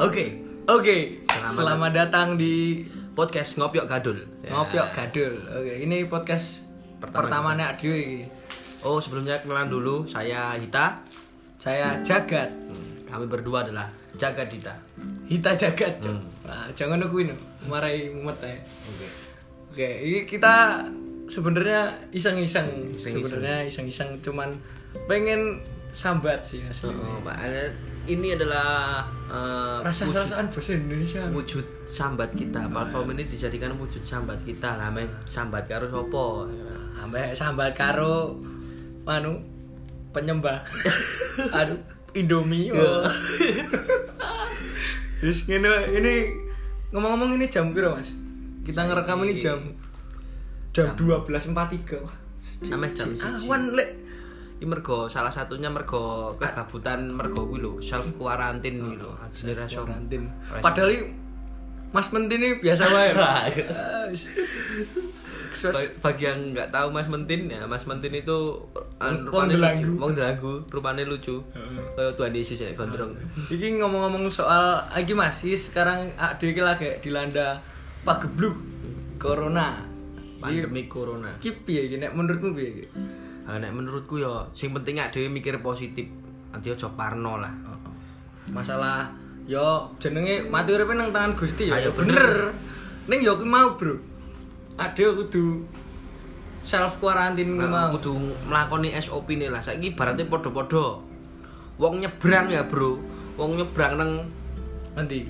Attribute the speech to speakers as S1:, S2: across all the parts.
S1: Oke,
S2: Oke,
S1: Selamat-
S2: selamat, datang di
S1: podcast ngopiok gadul. Ya.
S2: Ngopiok Gadul. Oke, ini podcast
S1: Pertama.
S2: pertama nek Adi iki.
S1: Oh, sebelumnya kenalan dulu, saya Hita. Hmm,
S2: Saya Jagat.
S1: Kami berdua adalah Jagat Hita.
S2: Hita Jagat, Cok.
S1: Hmm.
S2: Nah, jangan nungguin, marai mumet ae.
S1: Oke.
S2: Oke, ini kita sebenarnya iseng-iseng,
S1: Iseng-iseng.
S2: sebenarnya iseng-iseng cuman pengen sambat sih asli.
S1: Hmm. ini adalah eh, wujud,
S2: Rasa-rasaan bahasa Indonesia.
S1: wujud sambat kita. Platform ini dijadikan wujud sambat kita. Lah men sambat karo sopo?
S2: Ambek sambat karo anu penyembah. Aduh, Indomie. Oh. Wis ngene wae. ini ngomong-ngomong ini jam piro, Mas? Kita ngerekam ini jam jam 12.43. Wah.
S1: Sampai jam siji.
S2: Awan lek
S1: Ini mergo salah satunya mergo kegabutan mergo kuwi lho, self quarantine kuwi lho. Jadi rasa-
S2: karantin. Padahal ini Mas Menti ini biasa wae. Ah, wis. Kes-
S1: Ba- bagi yang nggak tahu Mas Mentin ya Mas Mentin itu an,
S2: Wong
S1: rupane
S2: delanggu.
S1: lucu. wong delanggu rupane lucu kayak Tuhan Yesus ya gondrong
S2: Iki ngomong-ngomong soal iki Mas, iki sekarang AD iki lagi dilanda pagebluk corona.
S1: pandemi corona
S2: Iki piye iki nek menurutmu piye iki?
S1: nah, nek menurutku ya sing penting gak dhewe mikir positif nanti aja parno lah
S2: Masalah yo jenenge mati uripe nang tangan Gusti Ah, ya.
S1: Ayo,
S2: ya bener. Ning yo aku mau, Bro. AD kudu self quarantine kuwi
S1: Nah,
S2: mau.
S1: kudu melakoni SOP nih lah saiki ibaratnya podo-podo wong nyebrang ya bro wong nyebrang neng
S2: Nanti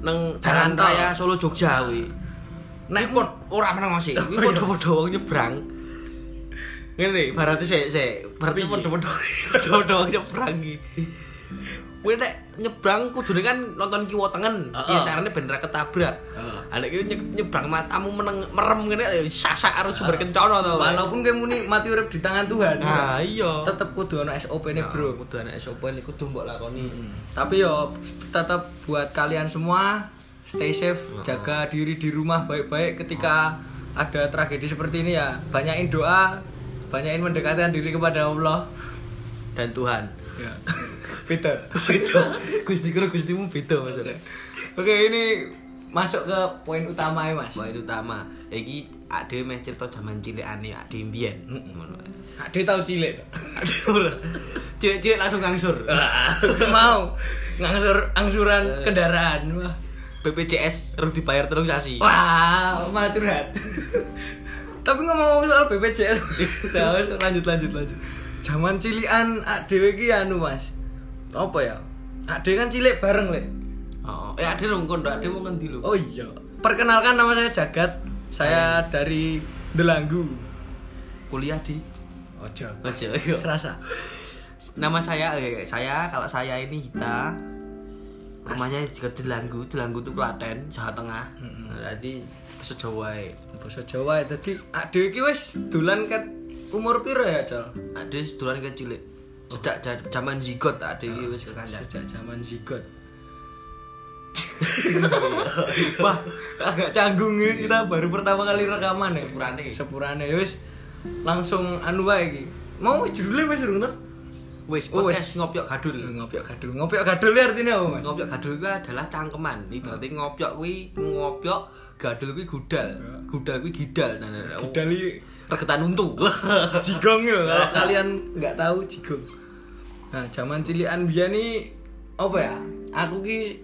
S1: neng
S2: Jalan
S1: jalan
S2: tol.
S1: raya Solo Jogja kuwi nek pod ora meneng sih
S2: Oh,
S1: kuwi podo-podo wong nyebrang ngene berarti sik sik berarti podo-podo podo-podo wong nyebrang iki kuwi nek nyebrang kudune kan nonton kiwa tengen
S2: Heeh.
S1: ya carane ben ra ketabrak ha nek kuwi nye- nyebrang matamu meneng merem ngene ya sasak harus sumber kencana to
S2: Walaupun kayak muni mati urip di tangan Tuhan,
S1: nah iya
S2: tetep kudu ono SOP ini bro.
S1: bro kudu ana SOP ini kudu mbok lakoni
S2: Tapi yo tetep buat kalian semua stay safe, jaga diri di rumah baik-baik ketika ada tragedi seperti ini ya. Banyakin doa, banyakin mendekatkan diri kepada Allah.
S1: dan Tuhan
S2: Ya. Peter.
S1: itu Gusti karo Gustimu beda maksudnya
S2: Oke, ini masuk ke poin utama ya, Mas.
S1: Mbak itu utama. Iki ade meh cerita zaman cilikane ade mbiyen. Ngono.
S2: Ade tahu cilik. toh?
S1: Ade ora. Cilik-cilik langsung ngangsur.
S2: Mau ngangsur angsuran kendaraan. Wah.
S1: BPJS harus dibayar terus sasi.
S2: Wah, malah curhat. Tapi ngomong-ngomong soal BPJS, Nah, wes, lanjut lanjut lanjut. Zaman cilian dhewe iki anu Mas. Apa ya? Ade kan cilik bareng, Lek.
S1: Oh, eh ade rong kon ade wong ngendi lho.
S2: Oh iya. Perkenalkan nama saya Jagat. Saya dari Delanggu.
S1: Kuliah di
S2: Ojo.
S1: Ojo yo.
S2: Serasa.
S1: Nama saya eh, saya kalau saya ini Hita. Rumahnya juga Delanggu, Delanggu itu Klaten, Jawa Tengah. Nah, Jadi bisa Jawa. ae.
S2: Basa Jawa ya. Dadi ade iki wis dolan ket umur piro ya, Col?
S1: Ade sedulan kecil. Sejak ja- zaman zigot ade
S2: Iya,
S1: iki wis kandang.
S2: Sejak zaman zigot. Wah, agak canggung ini kita baru pertama kali rekaman ya.
S1: Sepurane.
S2: Iya. Sepurane ya, wis langsung anu wae iki. Mau wis judule wis rung toh?
S1: Wis Hmm,
S2: Oh, wis.
S1: podcast ngopiok gadul.
S2: Ngopiok gadul. Ngopiok gadul ini artinya apa, Mas?
S1: ngopiok gadul itu adalah cangkeman ini berarti ngopiok kuwi ngopiok gadul kuwi gudal gudal kuwi Hmm. gidal nah, nah, nah.
S2: Gadali
S1: regetan untu
S2: jigong ya. Kalau kalian nggak tahu jigong. Nah, zaman cilian biyen nih apa ya? Aku ki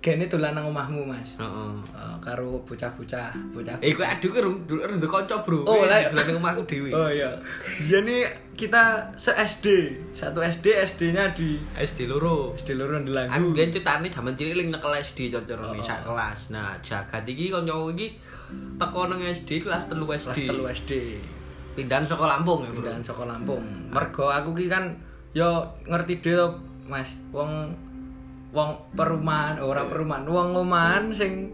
S2: gene dolan nang omahmu, Mas.
S1: Heeh.
S2: Eh, karo bocah-bocah, bocah
S1: eh kuwi aduh kuwi rung- dulu rung kanca bro
S2: Oh, lah.
S1: dolan ning omahku dhewe
S2: Oh iya. Iya nih kita se SD, satu SD SD-nya di
S1: SD loro
S2: SD Loro Delanggu.
S1: aku biyen cetane jaman cilik ling nyekel SD cocor oh. sak kelas nah jagat iki kanca iki teko nang SD kelas 3 SD
S2: Kelas telu SD.
S1: pindahan saka Lampung ya bro
S2: Pindahan saka Lampung.
S1: Hmm.
S2: Mergo aku ki kan yo ngerti dhewe to, Mas, wong wong perumahan, ora
S1: Iya.
S2: perumahan, wong omahan sing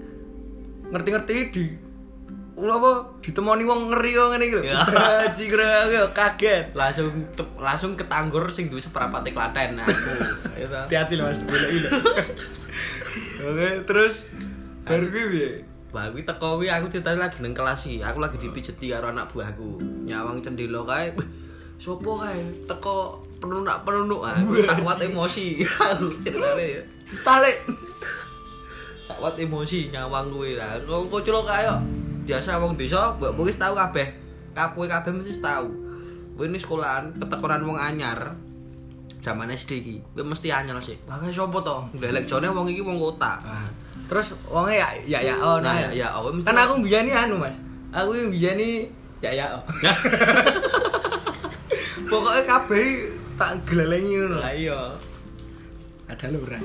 S2: ngerti-ngerti di apa ditemoni wong ngeri kok ngene iki lho.
S1: Ya.
S2: Haji kira aku yo kaget.
S1: langsung tep- langsung ketanggur sing duwe seperapate Klaten aku ya ta?
S2: Hati-hati loh Mas, dibeleki lho. Oke, terus baru gue piye?
S1: Wah, kuwi teko kuwi aku ceritanya lagi neng kelas iki. Aku lagi dipijeti karo anak buahku. Nyawang cendelo kae. "Wih, Sopo kae? Teko penunduk penundukan sakwat emosi aku ceritanya ya tarik sakwat emosi nyawang kuwi lah kok kok celok kayo biasa wong desa mbok mbok wis tau kabeh kapoe kabeh mesti tau kuwi ini sekolahan ketekunan wong anyar zaman SD iki kuwi mesti anyar sih bagai sapa to ndelek jone wong iki wong kota
S2: Ah. Terus wonge ya ya ya oh
S1: nah
S2: nah.
S1: ya ya awake mesti
S2: Kan aku mbiyani anu, Mas. Aku yang mbiyani ya ya oh. Pokoknya kabeh tak gelelengi ngono.
S1: lah iya
S2: Ada lu ora?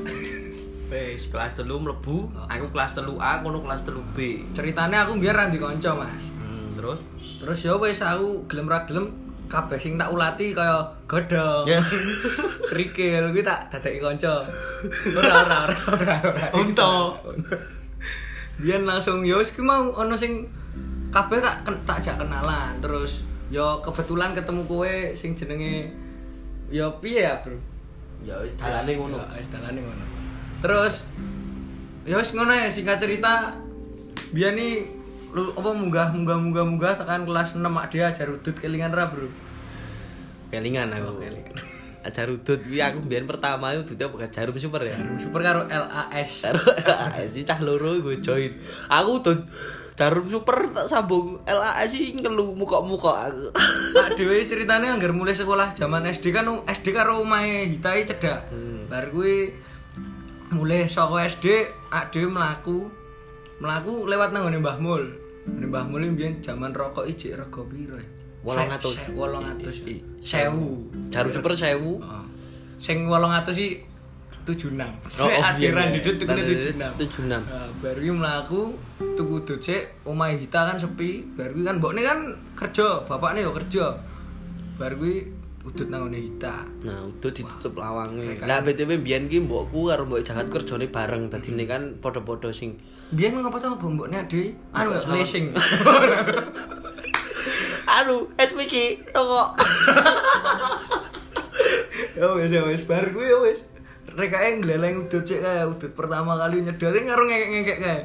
S1: Wes kelas telu mlebu, aku kelas telu A, kono kelas telu B.
S2: Ceritane aku biar ra dikonco, Mas.
S1: Hmm, terus?
S2: Terus ya wis aku gelem ra gelem kabeh sing tak ulati kaya godhong. Kerikil kuwi tak dadeki kanca. Ora ora ora ora. ora.
S1: Unta.
S2: Biyen langsung yo wis ki mau ono sing kabeh tak ken- tak jak kenalan terus yo kebetulan ketemu kowe sing jenenge yo piye ya, Bro?
S1: Ya wis dalane ngono.
S2: Ya, Wis dalane ngono. Terus ya wis ngono ya singkat cerita biyen ni lu apa munggah munggah munggah munggah tekan kelas 6 mak dia jarudut kelingan ra, Bro.
S1: Oh, Kelingan aku.
S2: kelingan.
S1: Ajar udut kuwi aku mbiyen pertama itu dudutnya bukan jarum super ya.
S2: Super karo LAS.
S1: Karo LAS cah loro gue join. Aku tuh jarum super tak sambung LAS sih ngelu muka-muka aku.
S2: Pak Dewi ceritanya anggar mulai sekolah zaman SD kan SD karo omahe Hitai cedak.
S1: Hmm.
S2: Bar kuwi mulai saka SD Pak Dewi mlaku mlaku lewat nang nggone Mbah Mul. Nggone Mbah Mul iki mbiyen zaman rokok ijik rego piro? ya?
S1: 800.
S2: Se- se- 800.
S1: I- i-
S2: 1000.
S1: Jarum super 1000.
S2: Heeh. Sing 800 sih 76.
S1: Oh, oh,
S2: Sek akhiran
S1: iya, iya.
S2: duduk tukune
S1: Tadi
S2: 76.
S1: 76.
S2: Nah, baru iki Eh, mlaku tuku dojek, omahe Hita kan sepi. Baru iki kan mbokne kan kerja, bapakne yo kerja. Baru kuwi udut nang ngone Hita.
S1: Nah, udah ditutup lawange. Lah BTW mbiyen ki mbokku karo mbok jagat kerjane bareng dadine kan padha-padha sing
S2: Biyen ngopo tau apa mbokne ade anu ya, leasing.
S1: Aduh, SPG rokok.
S2: ya wis ya wis bar kuwi ya wis. Rekake ngleleng udut cek kae udut pertama kali nyedali karo ngekek-ngekek kae.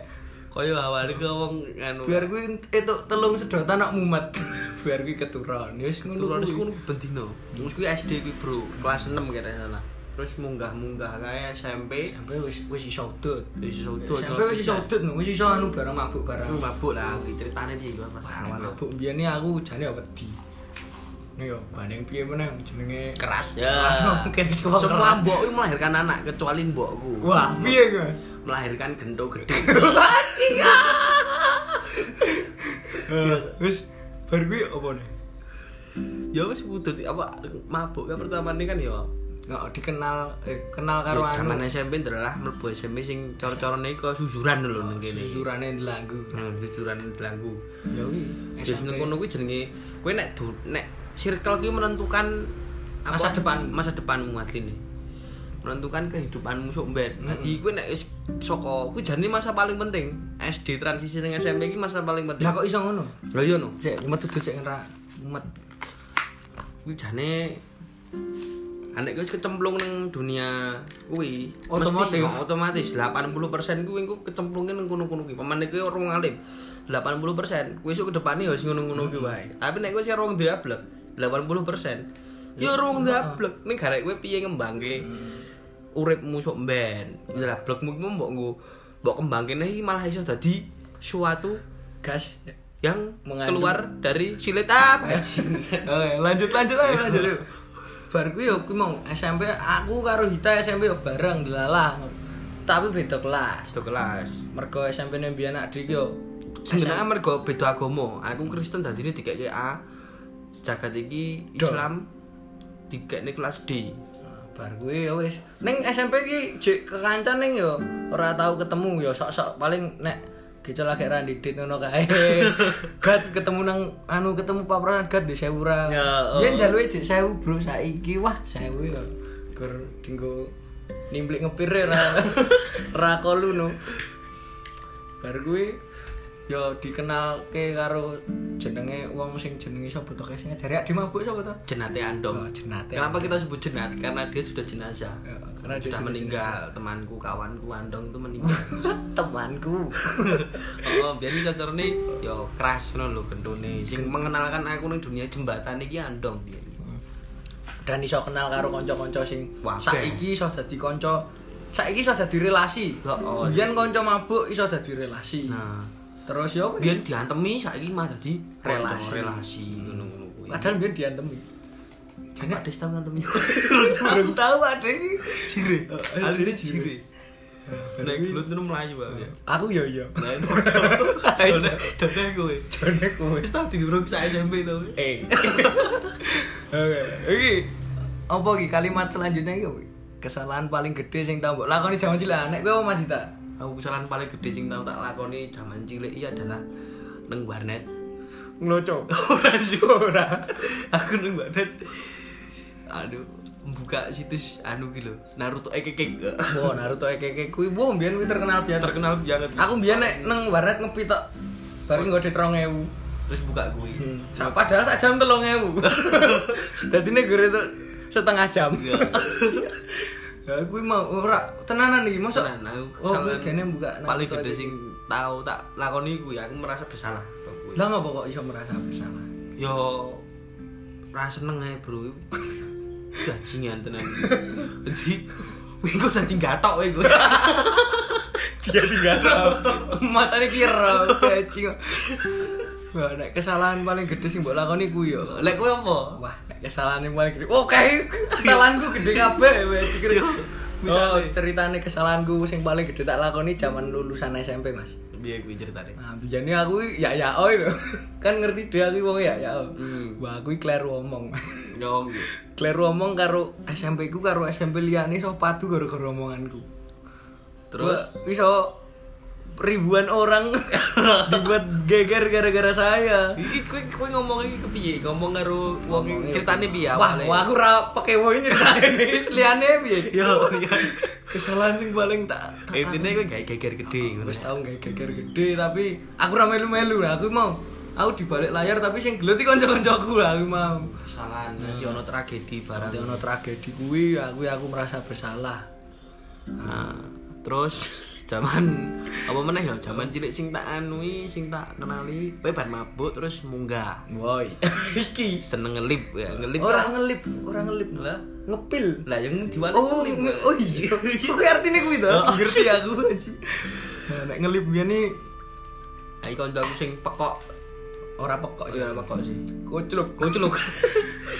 S1: Koyo awalnya ke wong anu.
S2: Biar kuwi itu telung sedotan nak mumet. Biar kuwi keturon. Ya wis ngono.
S1: Turun
S2: kuwi.
S1: iku ngono bendino. Wis kuwi SD kuwi, Bro. Kelas 6 kira sana. Terus munggah-munggah kae SMP.
S2: sampai wis wis iso udut
S1: Wis iso udut,
S2: sampai wis iso
S1: kalau
S2: udut no. wis iso anu barang mabuk barang
S1: Aku mabuk lah aku ceritane piye gua pas
S2: Nek
S1: awal.
S2: mabuk biyen ni aku jane ya wedi Ini yo banding piye meneh jenenge
S1: Keras ya.
S2: Keras, mungkin iki wong
S1: Semua
S2: keras.
S1: mbok kuwi melahirkan anak kecuali mbokku.
S2: wah piye gue
S1: Eh. Melahirkan gendo gede.
S2: wis bar kuwi opo ne
S1: ya wis udut apa mabuk kan pertama ini kan ya.
S2: nggak dikenal eh kenal karo
S1: Ya,
S2: anu
S1: Zaman SMP adalah mlebu SMP sing cor-corone iku susuran lho nang kene.
S2: susurané ndelanggu
S1: Nah, susuran delanggu.
S2: ya kuwi
S1: Wis
S2: SMP.
S1: nang kono kuwi jenenge kowe nek du- nek circle kuwi menentukan
S2: Masa depan.
S1: masa depanmu asline. Menentukan kehidupanmu sok mbet. Dadi kowe nek wis saka kuwi jane masa paling penting. SD transisi ning SMP iki masa paling penting.
S2: lah kok iso ngono
S1: Lha iya no.
S2: sik metu dhisik ngra mumet
S1: Kuwi jane Anak kuwi wis kecemplung ning dunia kuwi
S2: Otomotif.
S1: mesti, otomatis 80% kuwi engko kecemplunge ning kono-kono kuwi. Pemane kuwi orang alim. 80% kuwi iso kedepane ya wis ngono-ngono kuwi wae. Tapi nek kuwi sing rong diablek 80% ya rong diablek ning garek kuwi piye ngembangke uripmu sok mben. Diablekmu kuwi mbok nggo mbok kembangke nih malah iso dadi suatu
S2: gas
S1: yang
S2: Mengandung.
S1: keluar dari Ah, silet apa?
S2: Oke, lanjut lanjut aja lanjut. yuk. Bar kuwi yo kuwi mau SMP aku karo Hita SMP yo bareng delalah. Tapi beda kelas.
S1: Itu kelas.
S2: Mergo SMP ne mbiyen nak dhewe yo
S1: Sebenarnya mergo beda agama. Aku Kristen dadi ini tiga A. Sejagat iki Islam tiga ini kelas D.
S2: bar kuwi yo wis. Ning SMP ki jek kekancan ning yo ora tau ketemu yo sok-sok paling nek gitu lagi ra didit ngono kae. Gat ketemu nang anu ketemu paparan gat di sewu ra.
S1: Ya, oh.
S2: Yen jaluke jek sewu bro saiki wah sewu yo. Gur dinggo nimblik ngepir ya, ra ra kolu no. Bar kuwi ya dikenalke karo jenenge wong sing jenenge sapa to sing ngajari di mabuk sapa to?
S1: Jenate Andong.
S2: Oh, jenate.
S1: Kenapa kita sebut jenat? Karena dia sudah jenazah.
S2: Ya, karena dia
S1: sudah
S2: sudah
S1: meninggal. Temanku, kawanku Andong itu meninggal.
S2: Temanku.
S1: oh, biar ini cocor nih, yo keras no lo gendone. Sing mengenalkan aku nih dunia jembatan iki Andong biar.
S2: dan iso kenal karo kanca-kanca sing
S1: Wah,
S2: saiki iso dadi kanca saiki iso dadi relasi.
S1: Heeh.
S2: Biyen kanca mabuk iso dadi relasi.
S1: Nah.
S2: Terus ya wis.
S1: biyen diantemi saiki mah dadi
S2: Relasi.
S1: kanca, relasi ngono-ngono kuwi
S2: Padahal biyen diantemi.
S1: jane ada setahun ngantemi
S2: Belum tahu ada Oh, iki.
S1: ciri alire ciri nek gelut ngono mlayu wae
S2: Aku ya ya.
S1: nah itu dodol dodol kuwi
S2: Jane kowe.
S1: wis tau diurung sak SMP to kuwi.
S2: Eh. Oke. Iki apa iki kalimat selanjutnya iki apa? Kesalahan paling gede sing tau mbok lakoni jaman cilik. Nek kowe apa Mas Dita?
S1: aku kesalahan paling gede sing tau tak lakoni jaman cilik iki adalah neng warnet
S2: Ngloco.
S1: ora sih ora aku neng warnet aduh buka situs anu gitu Naruto ekekek
S2: Wah, Naruto ekeke kuwi wah mbiyen kuwi terkenal biyen.
S1: terkenal banget
S2: Aku mbiyen nek nang warnet ngepi tok bar iki nggode 2000.
S1: terus buka gue
S2: Hmm. Sa- Padahal sak jam 3000. Dadi nek gure itu setengah jam.
S1: Iya.
S2: Ya kuwi mau ora tenanan iki mosok.
S1: Tenan, nah, aku
S2: Oh,
S1: kesalahan
S2: kuwi gene buka Naruto
S1: paling gede
S2: ekekek.
S1: sing tau tak lakoni kuwi aku merasa bersalah
S2: Lah ngapa kok iso merasa bersalah?
S1: yo ra seneng ae bro gajingan tenan jadi minggu tadi gatok kowe
S2: dia tinggal matanya kira cacing wah nek kesalahan paling gede sing mbok lakoni ku yo
S1: lek kowe apa
S2: wah nek kesalahan yang paling gede oke kesalahanku gede kabeh wes dikira
S1: misalnya.
S2: Oh, ceritane kesalahanku sing paling gede tak lakoni zaman lulusan SMP, Mas.
S1: piye kuwi ceritane
S2: Nah, biyane aku ya ya oi lho. Kan ngerti dhewe aku wong ya ya.
S1: Hmm.
S2: Wah, aku kleru omong.
S1: yo
S2: kleru omong karo SMP ku karo SMP liyane iso padu gara-gara omonganku.
S1: terus
S2: Wah, iso ribuan orang dibuat geger gara-gara saya.
S1: iki kowe kowe ngomong iki kepiye ngomong karo wong
S2: Ngomongnya-
S1: ceritane piye
S2: Wah,
S1: awale?
S2: wah aku ra pake woe ceritane. Liyane piye?
S1: yo yo
S2: Kesalahan sing paling tak tak-
S1: intine kowe gawe geger gede ngono
S2: wis tau gak geger gede tapi aku ra melu-melu lah, aku mau. Aku dibalik layar tapi sing gelut iki kanca-kancaku lah aku mau.
S1: kesalahan si ono tragedi barang
S2: Nanti ono tragedi kuwi aku aku merasa bersalah.
S1: Nah, terus zaman apa meneh ya zaman cilik sing tak anui sing tak kenali kowe bar mabuk terus munggah
S2: Woi. Iki
S1: seneng ngelip ya ngelip
S2: orang ngelip, orang ngelip lah, ngepil.
S1: lah yang diwali
S2: Oh,
S1: ngelip
S2: nge- oh iya. Kuwi artine kuwi to.
S1: Oh,
S2: Ngerti aku aji. Nah, nek ngelip biyen iki
S1: nah iki kancaku sing pekok
S2: ora pekok sih.
S1: ya pekok sih
S2: Kocluk.
S1: kocluk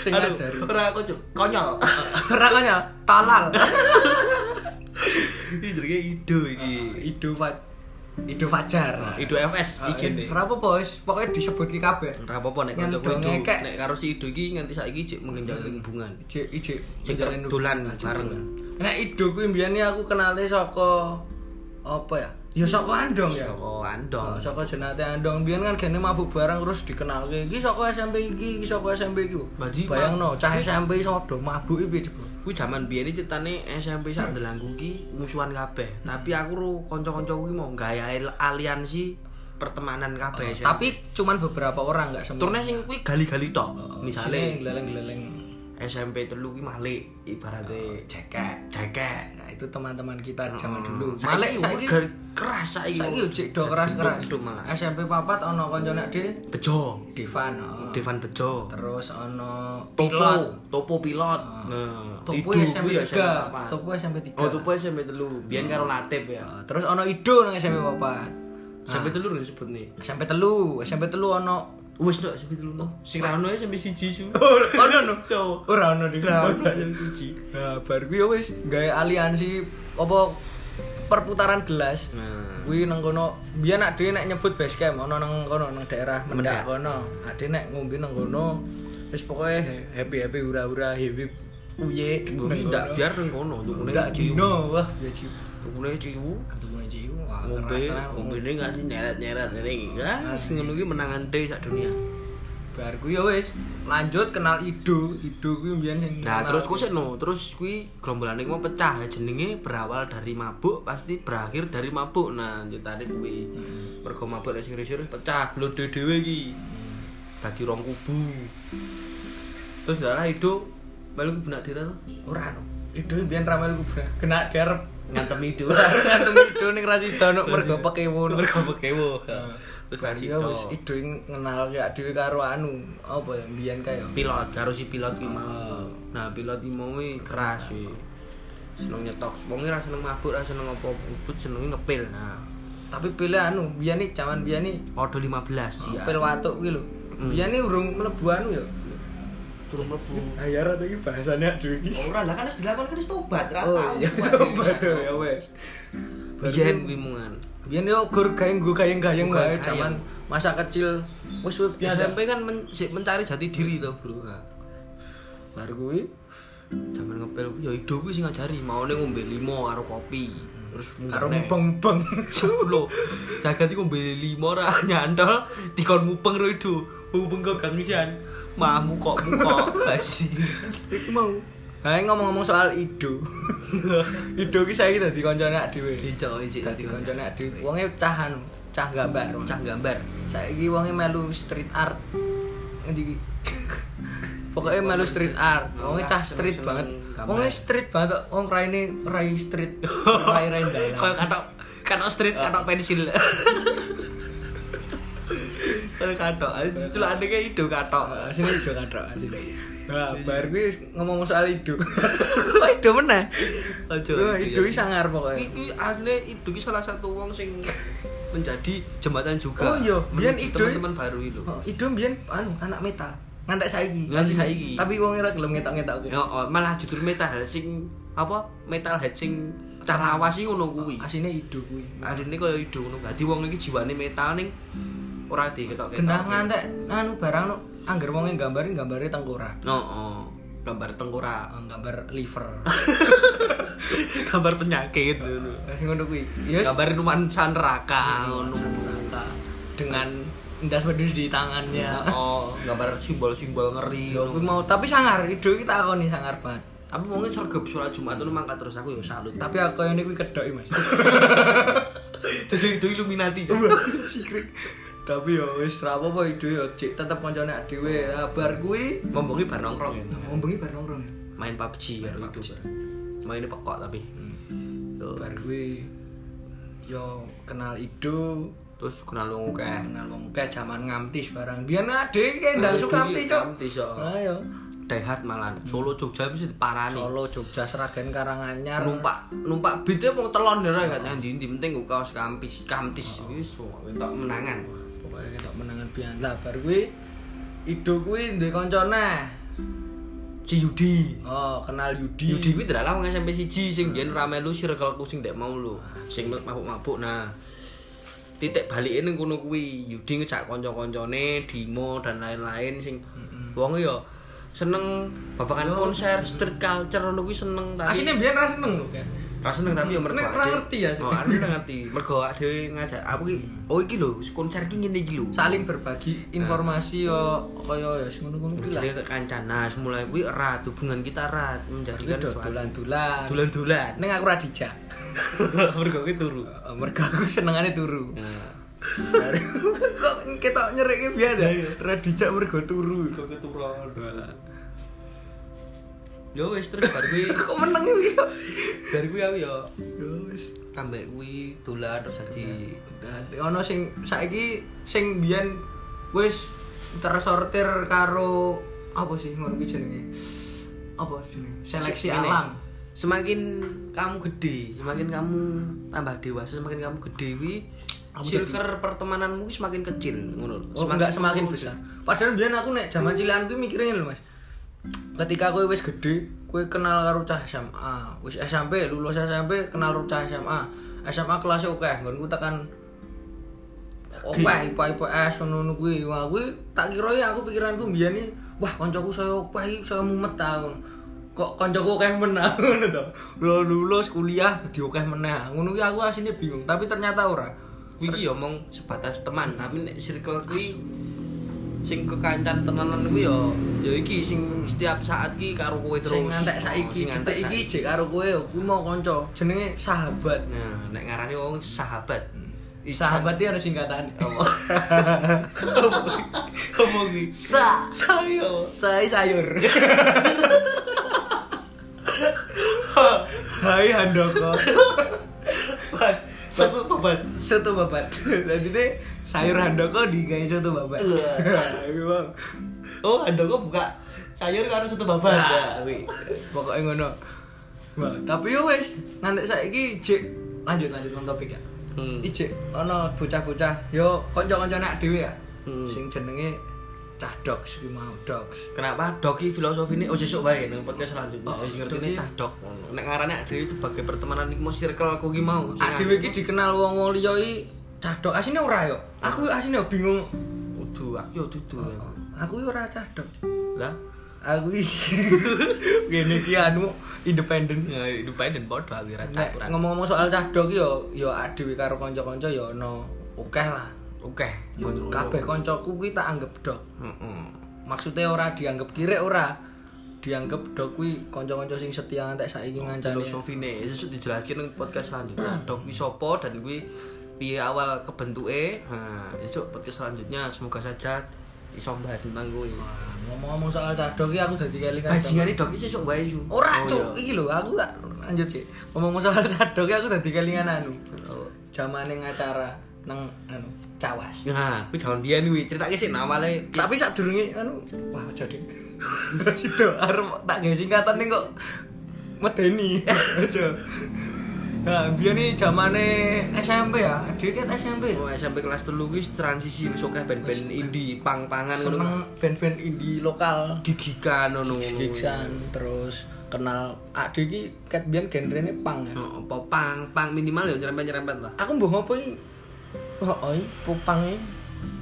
S2: Sing
S1: Aduh,
S2: ngajar.
S1: ora kocluk konyol
S2: Ora konyol, talal.
S1: iki jenenge ido iki
S2: Ido Fat Ido Fajar.
S1: ido
S2: Ah,
S1: FS Oh, iki ne
S2: Ora apa-apa wis, pokoke disebutke kabeh.
S1: ora apa-apa nek
S2: Yang
S1: kancaku ido
S2: dongeng kek.
S1: nek karo si ido iki nganti saiki cek mengenjang hubungan
S2: Ijik ijik
S1: Sing dolan bareng.
S2: Nek Ido kuwi biyen iki aku kenale saka apa ya? Ya saka Andong ya.
S1: oh
S2: Oh,
S1: andong
S2: saka jenate Andong biyen kan gene mabuk barang terus dikenalke iki saka SMP iki, iki saka SMP iki.
S1: Berarti
S2: Bayangno cah SMP iso do mabuk iki piye, Bro?
S1: Kuwi jaman biyen iki cetane SMP sak Delanggu ki musuhan kabeh. Tapi aku ro kanca-kanca kuwi mau gawe aliansi pertemanan kabeh. SMP.
S2: Tapi cuman beberapa orang nggak semua.
S1: turne sing kuwi gali-gali tok.
S2: Ah, Sini
S1: Misale
S2: geleng-geleng
S1: SMP telu kuwi malik
S2: Oh.
S1: ibarate
S2: cekek.
S1: cekek.
S2: Nah, itu teman-teman kita zaman dulu.
S1: Malik
S2: Malik
S1: Oh, saiki
S2: saiki
S1: ger- keras saiki.
S2: saiki yo cek do keras-keras.
S1: Gendut malah.
S2: SMP papat ono koncone De
S1: Bejo,
S2: Devan. oh.
S1: Devan Bejo.
S2: Terus ono
S1: Topo,
S2: Pilot. Ah.
S1: topo pilot. Nah,
S2: Topo
S1: Idu
S2: SMP
S1: kuwi ya
S2: 3.
S1: papat.
S2: Topo Ah. SMP 3.
S1: Oh, topo SMP telu. Biyen karo Latip ya.
S2: Oh, Terus ono Ido nang SMP
S1: Hmm.
S2: papat.
S1: SMP telu lho disebut nih.
S2: SMP telu, SMP telu ono
S1: Wis tok SMP telu no. Oh, Sing ra ono SMP siji su.
S2: Oh, ono no.
S1: Cowok.
S2: Ora ono di.
S1: Ra ono SMP siji.
S2: Nah, bar kuwi ya wis gawe aliansi apa perputaran
S1: Hmm.
S2: gelas.
S1: Nah,
S2: Kuwi nang kono, biyen nak dhewe nek nyebut base camp ono nang kono nang daerah Mendak kono. Ade nek ngombe nang kono wis pokoke happy-happy ura-ura happy uye
S1: ndak biar nang kono tukune
S2: ndak dino wah ya ciu.
S1: tukune ciu.
S2: Ketemu ciu wah
S1: Ngombe,
S2: keras tenan.
S1: ngombe ini ngasih nyeret-nyeret ini iki. Ah, sing ngono iki menangan D sak dunia.
S2: Bar kuwi ya wis lanjut kenal Ido, Ido kuwi biyen sing
S1: Nah,
S2: kenal.
S1: terus kuwi sik no, terus kuwi gerombolan iku mau pecah jenenge berawal dari mabuk pasti berakhir dari mabuk. Nah, ceritane kuwi. Mergo mabuk nek sing risih terus pecah glode dhewe iki. Dadi rong kubu. Terus ndalah hidup melu benak dhewe to.
S2: ora no. Ido biyen ramel kubra. Kena derep
S1: ngantem itu
S2: Baru ngantem itu ning Rasidon mergo pekewo.
S1: mergo pekewo Wis tak
S2: Berarti ya
S1: sida.
S2: wis ido ngenal ya dhewe karo anu apa ya mbiyen kae ya.
S1: pilot harus si pilot ki mau nah pilot ki mau wi keras sih seneng nyetok wong ora seneng mabuk ora seneng apa ubut senenge ngepil nah
S2: Tapi pilih anu mbiyen iki jaman mbiyen iki
S1: Ordo 15 sih
S2: pil watuk ki lho.
S1: Hmm.
S2: Mbiyen iki urung mlebu anu ya.
S1: turun mlebu
S2: Ayar ta iki bahasane aduh iki.
S1: Oh, ora lah kan wis dilakon kan wis tobat ra
S2: Oh
S1: tau
S2: iya sobat
S1: oh,
S2: ya wes.
S1: biyen kuwi mungan
S2: Biyen yo gur gaeng gur gaeng-gaeng
S1: Gur
S2: wae
S1: gaeng.
S2: jaman masa kecil wis wis biasa
S1: SMP kan men- sik mencari jati diri to bro Nah,
S2: bar kuwi
S1: jaman ngepil ku ya ido kuwi sing ngajari maune ngombe limo karo kopi terus
S2: karo
S1: mungane.
S2: mbeng-mbeng.
S1: Lho, jagat iku mbeli limo ra nyantol dikon mupeng ro idu. Mupeng kok gangsian. Mamu kok muka basi.
S2: Iki mau. Ha ngomong-ngomong soal Ido. Ido ki saiki dadi kancane ak dhewe.
S1: Dicok isik
S2: Dadi kancane ak dhewe. Wonge cah anu, cah gambar.
S1: cah gambar.
S2: Saiki wonge melu street art. Ngendi ki? Pokoke melu street art. Wonge cah street banget. Wonge street banget kok. wong raine rai street. Rai-rai
S1: Kayak
S2: dalan.
S1: katok katok street katok
S2: Ah.
S1: pensil. Kalau katok, Ah, celakane kayak idu katok.
S2: Ah, Sini Ido katrok sini. Nah, bar kuwi ngomong soal Ido. Kok Ido meneh.
S1: Ojo.
S2: Wah, Ido
S1: Idu
S2: ki sangar pokoke.
S1: iki asline idu ki salah satu wong sing menjadi jembatan juga.
S2: Oh, iya. Biyen
S1: menuju
S2: Idu-
S1: teman-teman baru itu.
S2: Oh, Ido mbiyen anu anak metal. Ngantek saiki.
S1: Ngantek saiki.
S2: Tapi wong ora gelem ngetok-ngetok aku.
S1: Ya, oh, malah jujur metal sing apa metal head sing cah lawas sih ngono kuwi.
S2: Asine Ido kuwi.
S1: Arine kaya ide ngono. Dadi wong iki jiwane metal ning ora diketok-ketok.
S2: Genah ngantek anu barang no angger wonge gambari gambare tengkorak.
S1: Heeh. Gambar tengkorak,
S2: Oh, gambar liver.
S1: gambar penyakit ngono.
S2: Wis ngono kuwi. Ya wis,
S1: Gambar nuansa neraka ngono.
S2: neraka. dengan ndas wedhus di tangannya.
S1: Oh, gambar simbol-simbol ngeri.
S2: Yo Iya. kuwi
S1: ngono.
S2: mau tapi sangar Ido kita takoni sangar banget.
S1: Tapi wong sorga sholat Jumat itu mangkat terus aku yo salut.
S2: Tapi aku yang ini kuwi kedoki Mas.
S1: Jojo itu Illuminati. ya?
S2: Cikrik. tapi yo wis ra apa-apa Ido yo cek tetep koncone dhewe. Ya, Bar kuwi
S1: Ngomongnya bar nongkrong ya.
S2: ngombengi bar nongkrong.
S1: Main PUBG ya itu.
S2: PUBG.
S1: Mainnya pekok tapi. Tuh.
S2: bar gue yo kenal Ido
S1: Terus kenal wong akeh.
S2: kenal wong akeh jaman ngamtis barang biyen ade iki ndang
S1: Aduh,
S2: suka ngamti cok
S1: ngamti, Cok. Hmm.
S2: ayo
S1: Daihat malan. Solo Jogja mesti diparani.
S2: Solo Jogja Seragen Karanganyar
S1: numpak numpak bitnya mau telon ya gak tahan di penting gue kaos kampis kampis wis wong entok menangan
S2: pokoknya ketok menangan biyen lah bar gue Ido kuwi duwe kancane
S1: si Yudi
S2: oh kenal Yudi
S1: Yudi kuwi dalah wong SMP siji sing biyen ora melu circleku sing ndek mau lho sing mabuk-mabuk nah titik balike ning kono kuwi Yudi ngejak kanca-kancane Dimo dan lain-lain sing wong ya seneng babakan konser street culture ngono kuwi seneng tapi
S2: asine biyen ra seneng lho kan
S1: Ra seneng tapi ya mergo.
S2: Nek
S1: awake
S2: ora
S1: dhewe-
S2: ngerti ya, Mm. sih.
S1: Oh, aku ora ngerti. Mergo awake dhewe ngajak aku ki oh iki lho konser ki ngene iki lho.
S2: saling berbagi informasi yo kaya ya sing ngono-ngono kuwi lah
S1: Jadi kancan nah mulai kuwi erat hubungan kita erat menjadikan
S2: Ido
S1: suatu
S2: dolan-dolan
S1: dolan-dolan.
S2: ning aku ra dijak
S1: Mergo ki turu.
S2: Eh, mergo aku senengane turu
S1: Nah,
S2: kok ketok nyerike biyen ya ra dijak mergo turu
S1: kok keturon. Yo wis terus bar kuwi
S2: kok meneng iki kok
S1: bar kuwi aku yo
S2: ya wis
S1: ambek kuwi dolan terus dadi
S2: ono sing saiki sing biyen wis tersortir karo apa sih ngono kuwi jenenge apa jenenge seleksi
S1: Ini,
S2: alam
S1: Semakin kamu gede, semakin kamu tambah dewasa, semakin kamu gede wi silker pertemananmu ki semakin kecil ngono lho.
S2: Oh, enggak semakin besar. Padahal biyen aku nek jaman cilian kuwi mikire ngene lho, Mas. Ketika kowe wis gede, kowe kenal karo cah SMA, wis SMP, lulus SMP kenal karo cah SMA. SMA kelas oke, nggonku tekan Oke, IPA IPS ngono kuwi. Wah, kuwi tak kira ya aku pikiranku biyen iki, wah kancaku saya oke iki saya mumet ta ngono. Kok kancaku oke meneh ngono to. Lho, Lulus kuliah dadi oke meneh. Ngono kuwi aku asline bingung, tapi ternyata ora.
S1: Kuwi ki yo omong sebatas teman, tapi nek circle kuwi sing kekancan tenanan kuwi yo yo iki sing setiap saat ki karo kowe terus.
S2: sing ngantek saiki
S1: Oh, sing ngantek
S2: detik iki jek karo kowe ya, kuwi mau kanca jenenge sahabat
S1: saiki. Nah, nek ngarani wong sahabat.
S2: sahabat iki Oh. ana singkatan
S1: Apa? Apa kuwi?
S2: sa
S1: Sayo.
S2: sai sayur hai handoko
S1: Satu babat.
S2: soto babat jadi deh sayur handoko digawe soto babat iya.
S1: Oh, ada kok buka sayur karo satu babat. ya.
S2: Nah, kuwi. pokoknya ngono Wah, tapi yo wis nanti saiki jek lanjut lanjut nang topik ya
S1: Hmm.
S2: ijek ana bocah-bocah yo kanca-kanca nak dhewe ya
S1: Hmm.
S2: sing jenenge cah dogs kuwi mau dogs
S1: Kenapa Doki filosofi ini oh sesuk bae nang podcast selanjutnya. Oh, sing ngerti ini
S2: Doki.
S1: cah dok. Nek ngarane dhewe sebagai pertemanan iki mau circle aku iki mau. Sing
S2: ah dhewe iki
S1: aku-
S2: dikenal wong-wong liya iki cah dogs asine ora yo aku
S1: Hmm.
S2: asine yo bingung
S1: Udu, aku yo dudu.
S2: aku yo ora cah dogs
S1: Lah,
S2: aku iki- ngene iki anu independen
S1: ya independen bodoh aku ra
S2: Nek ngomong-ngomong soal cah dog yo yo dhewe karo kanca-kanca yo ana akeh lah.
S1: Oke.
S2: Yo kabeh kancaku kuwi tak anggap dog.
S1: Heeh.
S2: Maksudnya ora dianggap kirek ora. Dianggap dog kuwi kanca-kanca sing setia ngantek saiki
S1: Oh,
S2: ngancani.
S1: Filosofi ini sesuk dijelasin nang podcast selanjutnya. Dok kuwi sapa dan kuwi piye awal kebentuke. Nah, esuk podcast selanjutnya semoga saja iso bahas tentang kuwi.
S2: Wah, Ngomong-ngomong soal cah dog iki aku dadi kelingan.
S1: Bajingane dok iki sesuk wae su.
S2: Ora
S1: Oh,
S2: cuk,
S1: iya.
S2: iki lho aku tak lanjut sih. Ngomong soal cadok aku dadi kelingan anu.
S1: Oh.
S2: Jamane acara nang anu cawas.
S1: Nah, kuwi jaman biyen kuwi ceritake sik awale.
S2: Tapi sadurunge anu wah jadi sido arep tak gawe singkatan ning kok medeni. Aja. Nah, biyen iki jamane SMP ya. Adik ket SMP.
S1: Oh, SMP kelas 3 kuwi transisi wis akeh band-band indie, pang-pangan ngono.
S2: Seneng band-band indie lokal
S1: gigikan ngono.
S2: gigs-gigsan terus kenal adik iki ket biyen genrene punk ya.
S1: Heeh, apa pang, pang minimal ya nyerempet-nyerempet lah.
S2: aku mbok ngopo iki oh oi popang iki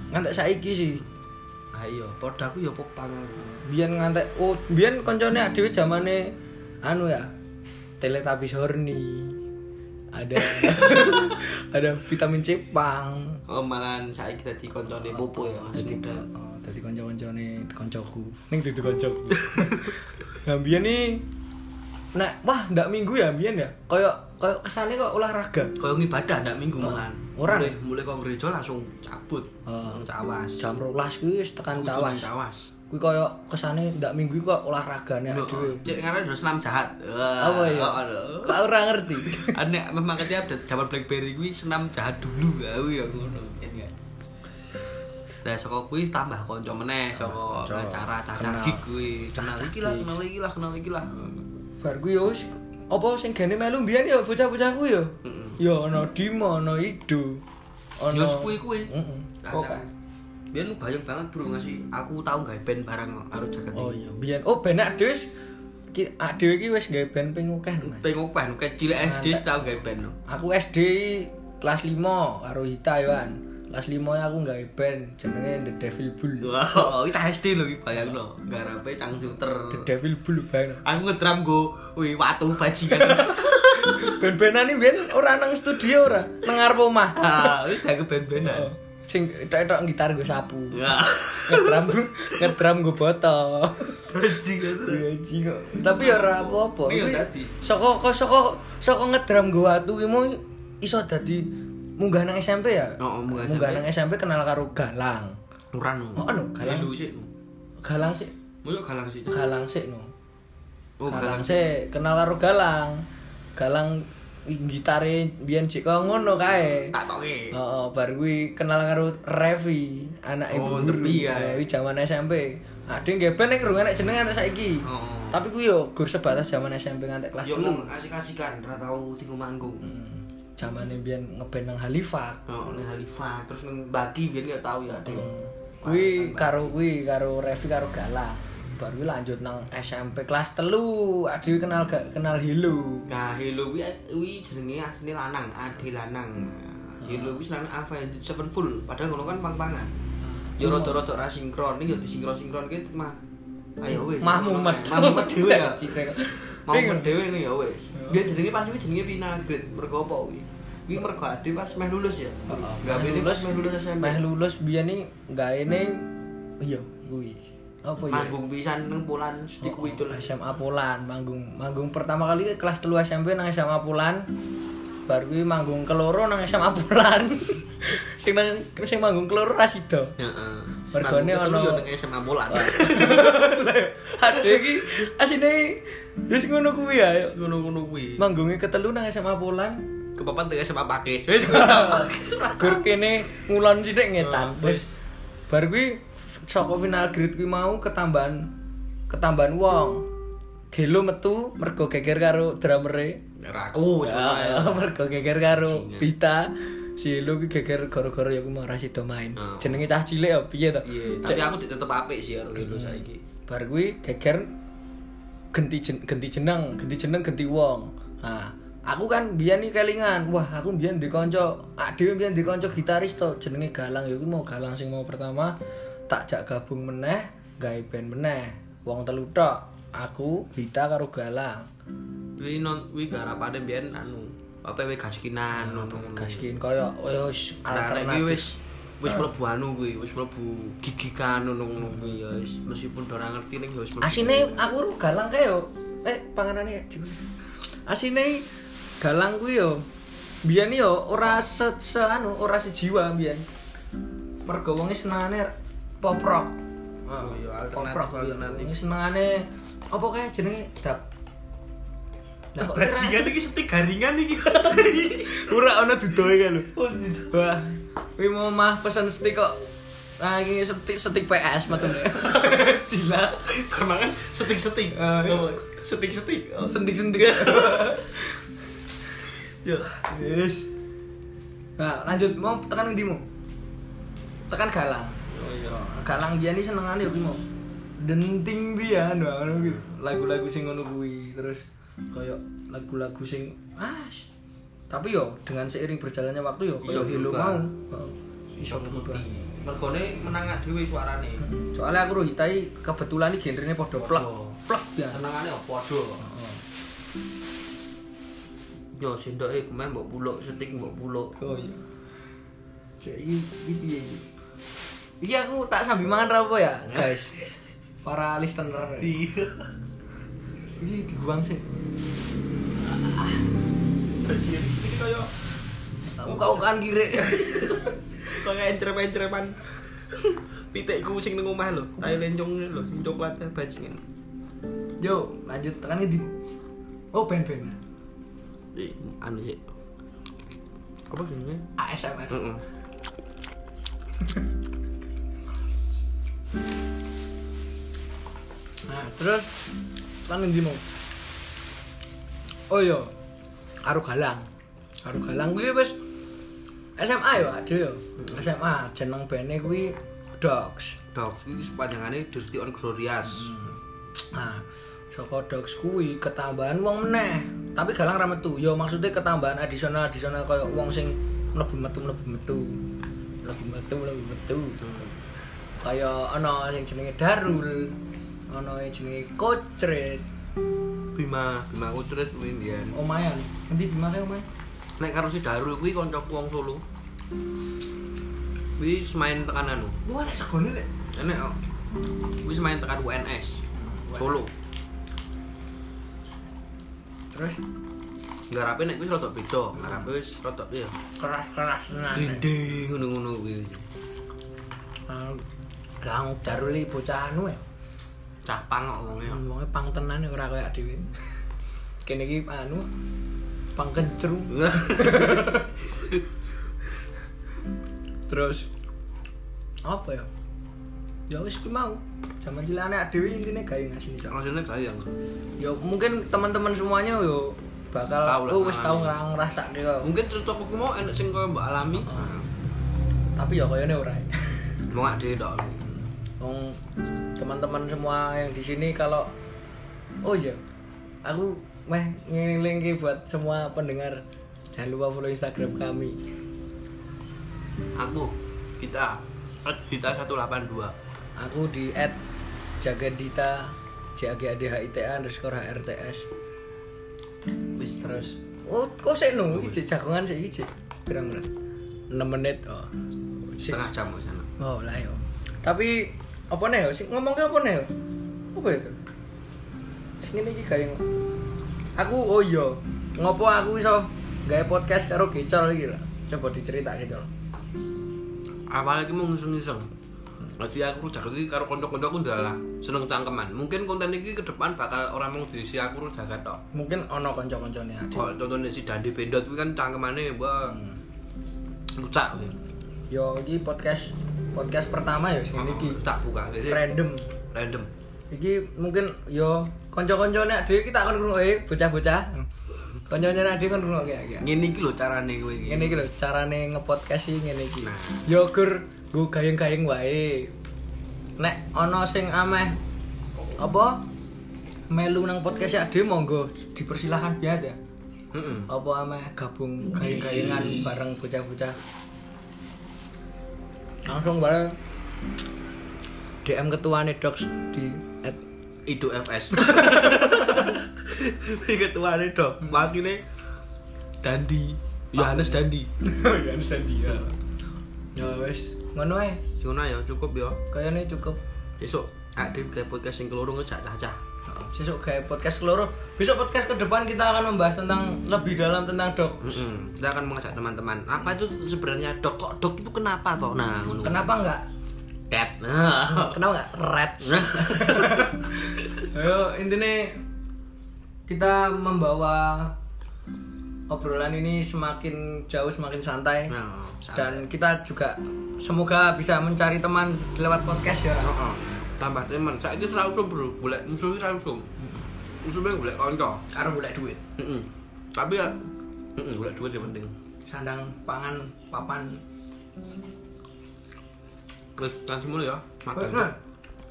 S2: ngantek saiki sih
S1: Ah iya, padha aku ya apa pang.
S2: biyen ngantek oh biyen koncone dhewe zamane anu ya teletabis horny ada ada vitamin C pang
S1: Oh, malahan saiki dadi koncone popo ya Mas Muda.
S2: oh, tadi kanca-kancane kancaku ning dudu kancaku nah biyen nih nah wah ndak minggu ya biyen ya koyo koyo kesane kok olahraga
S1: Koyo ngibadah ndak minggu malahan.
S2: Ora.
S1: mulai, mulai kok gereja langsung cabut.
S2: Oh.
S1: Nang cawas.
S2: jam 12 kuwi wis tekan
S1: Kudu nang
S2: cawas
S1: Cawas.
S2: kuwi koyo kesane ndak minggu iki kok olahragane
S1: Yo, oh.
S2: dhewe.
S1: Cek ngaran terus senam jahat.
S2: Apa ya?
S1: ya?
S2: Kok ora ngerti.
S1: Aneh memang ketika update zaman BlackBerry kuwi senam jahat dulu aku ya ngono. Iya. Nah, saka kuwi tambah kanca meneh saka
S2: Kanca.
S1: acara cacar
S2: Kenal.
S1: gig kuwi. Kenal
S2: Cacar
S1: iki lah,
S2: gig.
S1: kenal iki lah, kenal iki lah.
S2: Bar kuwi yo wis apa sing gene melu mbiyen yo bocah-bocahku yo. Yo ana Dimo, ana Ido. Ana
S1: Yo kuwi kuwi.
S2: Heeh.
S1: Cacar. Biar lu bayang banget bro nggak sih? Aku tahu nggak band barang harus jaga
S2: Oh iya, biyen oh benak dhewe wis ki ak dhewe iki wis gawe band ping akeh, Mas.
S1: Pengen ban, kecil SD tahu nggak band no.
S2: Aku SD kelas 5 karo Hita Yoan. Kelas 5 -nya aku gawe band jenenge The Devil Bull.
S1: Wow, kita SD loh, bayang lo. Garape cangcuter.
S2: The Devil Bull banget.
S1: Aku ngedram go, wih watu bajingan.
S2: Ben-benan iki biyen ora nang studio ora, nang ngarep omah.
S1: Ah, wis dah band-bandan.
S2: Sing tok-tok gitar gue sapu.
S1: Ya.
S2: ngedram ngedram gue botol
S1: Anjing
S2: Iya, anjing kok. tapi ya ora apa-apa
S1: Iya,
S2: Kuwi
S1: dadi.
S2: saka kok saka saka ngedram gue watu ki mau iso dadi munggah nang SMP ya
S1: Oh, oh, munggah
S2: munggah
S1: SMP.
S2: nang SMP kenal karo Galang
S1: Kurang no.
S2: Oh, no, galang.
S1: Elu sih. no.
S2: Galang sih
S1: Mulu galang sih.
S2: Galang sih no
S1: Oh,
S2: Galang
S1: galang.
S2: sih kenal karo Galang Galang wi- gitare biyen cek kok ngono kae
S1: Tak toke.
S2: Oh, oh, bar kuwi kenal karo Revi, anak
S1: Oh,
S2: ibu
S1: tepi
S2: guru.
S1: ya.
S2: Kuwi jaman SMP. Ade nggih ben nek ngrungan nek jeneng antek saiki.
S1: Oh.
S2: Tapi kuwi yo gur sebatas jaman SMP ngantek kelas
S1: Yo
S2: 6.
S1: mung asik-asikan ora tau tinggu manggung.
S2: Jamane biyen ngeband nang Halifax.
S1: Oh, nang Halifa terus nang Baki biyen gak tau ya, Dek.
S2: Kuwi karo kuwi karo Revi karo Gala. Bar kuwi lanjut nang SMP kelas 3. Ade kenal ga, kenal Hilo.
S1: Nah, Hello kuwi kuwi jenenge asline lanang, Ade lanang. Hello kuwi seneng Avenged Sevenfold, padahal ngono kan pang-pangan. Yo
S2: Hmm.
S1: rada-rada ra sinkron, ini yo disinkron-sinkron ki mah ayo wis.
S2: Mah mumet.
S1: Mah mumet dhewe ya.
S2: Cipek.
S1: mau
S2: Iya.
S1: dhewe nih ya wis.
S2: Hmm.
S1: Dia jenenge pas kuwi jenenge final grade mergo apa kuwi? Kuwi mergo ade pas meh lulus ya. Enggak
S2: Oh, Meh
S1: meh
S2: lulus.
S1: lulus meh lulus SMP.
S2: Meh lulus biyen iki gaene iya kuwi. Apa ya?
S1: Manggung pisan nang Polan mesti kuwi
S2: itu SMA Pulan manggung manggung pertama kali ke kelas telu SMP nang SMA Pulan baru kuwi manggung keloro nang SMA Pulan sing nang sing manggung keloro Rasido
S1: Heeh.
S2: Mergone ono- Oh.
S1: nang SMA Polan.
S2: ade iki asine wis ngono kuwi ya
S1: Ngono-ngono kuwi.
S2: manggungnya ketelu nang SMA Pulan
S1: kepapan tengah sama pakis. Wis ora tau.
S2: Gur kene ngulon sithik ngetan.
S1: Oh, wis.
S2: Wis bar kuwi saka final grid kuwi mau ketambahan ketambahan wong. Gelo metu mergo geger karo drumere.
S1: Ora aku wis
S2: Ya,
S1: ora.
S2: mergo geger karo
S1: Bajingan.
S2: Pita. Si Elo kuwi geger gara-gara ya kuwi ora sida main.
S1: Oh.
S2: Jenenge cah cilik ya piye to?
S1: Iya,
S2: Cek-
S1: tapi aku ditetep apik sih karo Gelo saiki.
S2: bar kuwi geger genti jen, genti jeneng, genti jeneng genti wong. Nah, aku kan biyen iki kelingan. Wah, aku biyen di kanca, ak dhewe biyen di kanca gitaris to jenenge Galang ya kuwi mau Galang sing mau pertama tak jak gabung meneh, gawe band meneh. Wong telu tok. Aku, Bita karo Galang.
S1: Wi non wi garapane biyen anu apa we gaskinan ngono.
S2: Gaskin koyo yo wis
S1: Nah, nek
S2: alternatif.
S1: kuwi wis wis mlebu anu kuwi, wis mlebu gigikan ngono-ngono kuwi ya wis meskipun ora ngerti ning ya wis mlebu.
S2: asine aku ru galang kae yo eh panganane Cik. asine galang kuwi yo biyen yo ora se, se anu ora sejiwa biyen mergo wonge senengane pop rock
S1: Oh, iya,
S2: pop
S1: alternatif,
S2: rock
S1: alternatif.
S2: wonge e senengane apa kae jenenge dap Lah kok
S1: Bajingan iki seti garingan iki.
S2: ora ana dudoe kae lho. Oh, Wah, kuwi mau mah pesen stik kok. Nah, ini stik stik PS matune. Gila.
S1: Permangan setik-setik.
S2: Ah, iya.
S1: Apa? Setik-setik. Oh,
S2: sentik-sentik ya yes nah lanjut mau tekan yang dimu tekan galang
S1: Oh iya.
S2: galang biar ini seneng aneh mau denting dia nah ngono gitu. lagu-lagu sing ngono kuwi terus koyo lagu-lagu sing ah sh- tapi yo dengan seiring berjalannya waktu yo koyo
S1: Iso
S2: hilo
S1: berubah.
S2: mau Heeh. iso berubah
S1: Mergone menang dhewe suarane.
S2: soalnya aku rohitai kebetulan ini genrenya podo plak Oh.
S1: Podo.
S2: plak ya
S1: Senengane ya padha. Yo sendoke pemain mbok puluk, setik mbok puluk.
S2: Oh iya. Jadi piye iki? Iki aku tak sambil mangan ra apa ya, guys. Para listener.
S1: Iya.
S2: Iki diguang sih.
S1: Bajingan iki kaya
S2: Uka-ukaan kirek.
S1: kaya encer-enceran. Pitikku sing nang omah lho, tai lencung lho, sing coklat eh, bajingan.
S2: Yo, lanjut tekan ngendi? Oh, ben-ben.
S1: Ih, anu sih. Apa jenenge?
S2: ASMR.
S1: Heeh.
S2: Nah, terus tekan ngendi mau? Oh iya. Aru galang. Aru galang kuwi wis SMA yo, ada yo. SMA jeneng bene kuwi Dogs.
S1: Dogs iki sepajangane Dirty on Glorious.
S2: Nah, saka dogs kuwi ketambahan wong meneh. Tapi galang ra metu. Ya maksudnya ketambahan adisional adisional kaya wong sing mlebu metu mlebu metu. Mlebu metu mlebu metu. Kaya ana sing jenenge Darul, ana yang jenenge Kocret,
S1: Bima, Bima Ucret kuwi mbiyen.
S2: Omayan. Nanti dimakai Omayan.
S1: Nek karo si Darul kuwi kancaku wong Solo. Wis main tekan anu. Eh,
S2: Wah, nek segone lek.
S1: Enek kok. Wis main tekan UNS. Solo.
S2: Terus
S1: Garape nek wis rada beda. Garape wis rada iya. piye?
S2: keras-keras tenan.
S1: Grinding ngono-ngono kuwi.
S2: Nah, Lang Darul iki bocah anu ya.
S1: Capang kok wonge.
S2: Ya, Wonge pang tenan ora kaya dhewe. Kene iki anu pang kencru. Terus apa ya? Ya wis ku mau. Zaman cilane dhewe intine gawe ngasih cok.
S1: Rasane kaya.
S2: Ya mungkin teman-teman semuanya yo bakal
S1: Tau lah,
S2: oh wis tau
S1: ngalami.
S2: ngra- ngrasakne kok.
S1: Mungkin cerita aku mau enek sing kaya Mbak Alami.
S2: Tapi ya koyone ora. ya.
S1: Mau ngak dhewe tok.
S2: Wong teman-teman semua yang di sini kalau oh iya aku meh ngiling buat semua pendengar jangan lupa follow Instagram kami.
S1: Aku kita kita 182.
S2: Aku di at jagadita jagadhita underscore hrts
S1: Wis
S2: terus oh kok sih nu ije jagongan sih ije berang berat enam menit oh Sik.
S1: setengah jam wis ana.
S2: oh lah yo tapi apa nih yo sing ngomong apa nih yo apa itu sing ini iki gawe ngo- aku oh iya ngopo aku iso gawe podcast karo gecol iki lah coba diceritakke gecol
S1: Awalnya iki mau ngiseng-ngiseng. Jadi aku rujak iki karo kanca-kanca aku ndalah seneng cangkeman. Mungkin konten iki ke depan bakal orang mau diisi aku rujak tok.
S2: mungkin ono konco-koncone ada
S1: Kalau contohnya si Dandi Bendot itu kan cangkemane mbak rujak kuwi.
S2: yo iki podcast podcast pertama ya sing
S1: Heeh,
S2: iki
S1: rujak buka Jadi,
S2: random
S1: random.
S2: iki mungkin yo konco-koncone dhewe kita akan ngrungokne eh, bocah-bocah konco-koncone dhewe kan ngrungokne ya
S1: Ngene iki lho carane kowe iki.
S2: ngene iki lho carane ngepodcast iki ngene iki
S1: Nah.
S2: yo gur nggo gayeng-gayeng wae nek ana sing ameh apa melu nang podcast ya dhewe monggo dipersilahkan biar ya
S1: Heeh.
S2: apa ameh gabung gayeng-gayengan bareng bocah-bocah langsung bareng DM ketuane Docs di at
S1: Idu FS. Iki ketuane dok, wakile Dandi, Yohanes Dandi. Ah. Yohanes Dandi ya.
S2: ya wis ngono ae
S1: Sona ya cukup ya.
S2: kayane cukup
S1: Besok ada kayak podcast yang keloro ngejak cah-cah.
S2: besok kayak podcast seluruh besok podcast ke depan kita akan membahas tentang lebih dalam tentang dok
S1: Mm-mm. Kita akan mengajak teman-teman. Apa itu sebenarnya dok? Kok dok itu kenapa toh? Nah, ngono.
S2: kenapa enggak
S1: Tet. Nah.
S2: kenapa enggak rats ayo intinya kita membawa obrolan ini semakin jauh semakin santai
S1: Nah,
S2: dan kita juga semoga bisa mencari teman lewat podcast ya
S1: Heeh. Tambah teman. Saiki selalu sum, Bro. Golek musuh iki selalu sum. Musuhnya golek kanca.
S2: karo golek duit
S1: Heeh. Tapi ya heeh golek duit yang penting.
S2: sandang pangan papan
S1: Terus kasih mulu ya. Makan.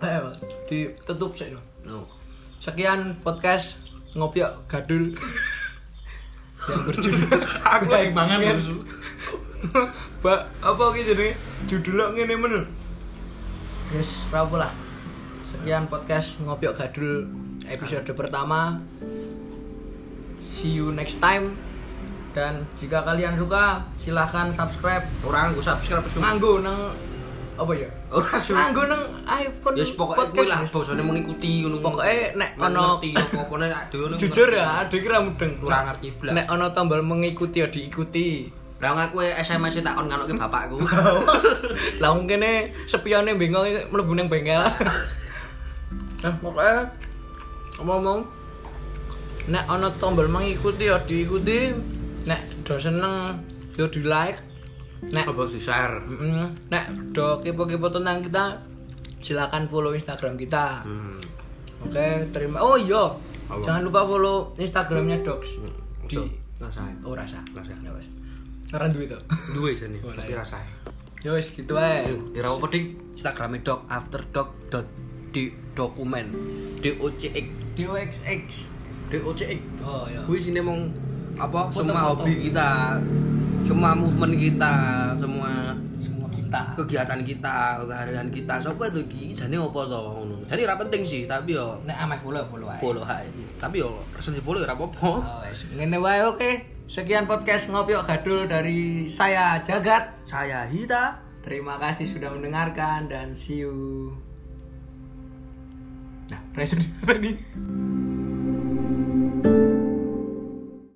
S2: Ayo, ditutup sih no.
S1: No.
S2: Sekian podcast ngopi yuk, gadul. yang berjudul
S1: Aku lagi mangan
S2: Bajingan.
S1: musuh.
S2: Mbak, apa ki jenenge? Judulnya ngene men. Wis rapo lah. Sekian podcast ngopi yuk, gadul episode pertama. See you next time. Dan jika kalian suka, silahkan subscribe.
S1: Orang gue subscribe sum.
S2: Nganggo nang apa ya?
S1: Ora sum.
S2: Nganggo nang iPhone.
S1: Ya pokoknya
S2: podcast.
S1: kuwi lah bosone mengikuti ngono.
S2: Pokoknya nek
S1: Nek
S2: ono-
S1: ngerti apa-apa nek ade ngono.
S2: Jujur ya, adik kira mudeng.
S1: kurang ngerti blas.
S2: Nek ono tombol mengikuti ya diikuti.
S1: Lah ngaku SMS tak on nganoke bapakku.
S2: Lah wong kene sepione bengong iki mlebu ning bengkel. Nah, pokoknya ngomong nek ono tombol mengikuti ya diikuti. Nek do seneng ya di like. Nek
S1: Apa sih share?
S2: mm, nek do kepo-kepo tentang kita silakan follow Instagram kita.
S1: Hmm.
S2: Oke, terima. Oh iya,
S1: Apa? Hmm.
S2: jangan lupa follow Instagramnya Docs di
S1: Di rasane.
S2: Oh rasa.
S1: Rasa.
S2: Ya wes. Karena duit tuh.
S1: Duwe jane tapi
S2: iya.
S1: rasane.
S2: Ya wes gitu ae.
S1: Ya apa ding Instagrame dok after dok dot di dokumen DOCX
S2: DOXX.
S1: DOCX
S2: Oh ya.
S1: gue sini mau apa
S2: Foto-foto.
S1: semua hobi kita semua movement kita semua
S2: Semua kita.
S1: kegiatan kita keharian kita sopo itu ki jane apa to ngono jadi ora penting sih tapi yo
S2: Nek ameh follow follow ae.
S1: follow ae tapi yo resen di follow ora apa-apa
S2: Oh wes. Ngene wae oke. Sekian podcast ngopi Yuk gadul dari saya Jagat.
S1: saya Hita
S2: Terima kasih sudah mendengarkan dan see you. Nah, resume tadi.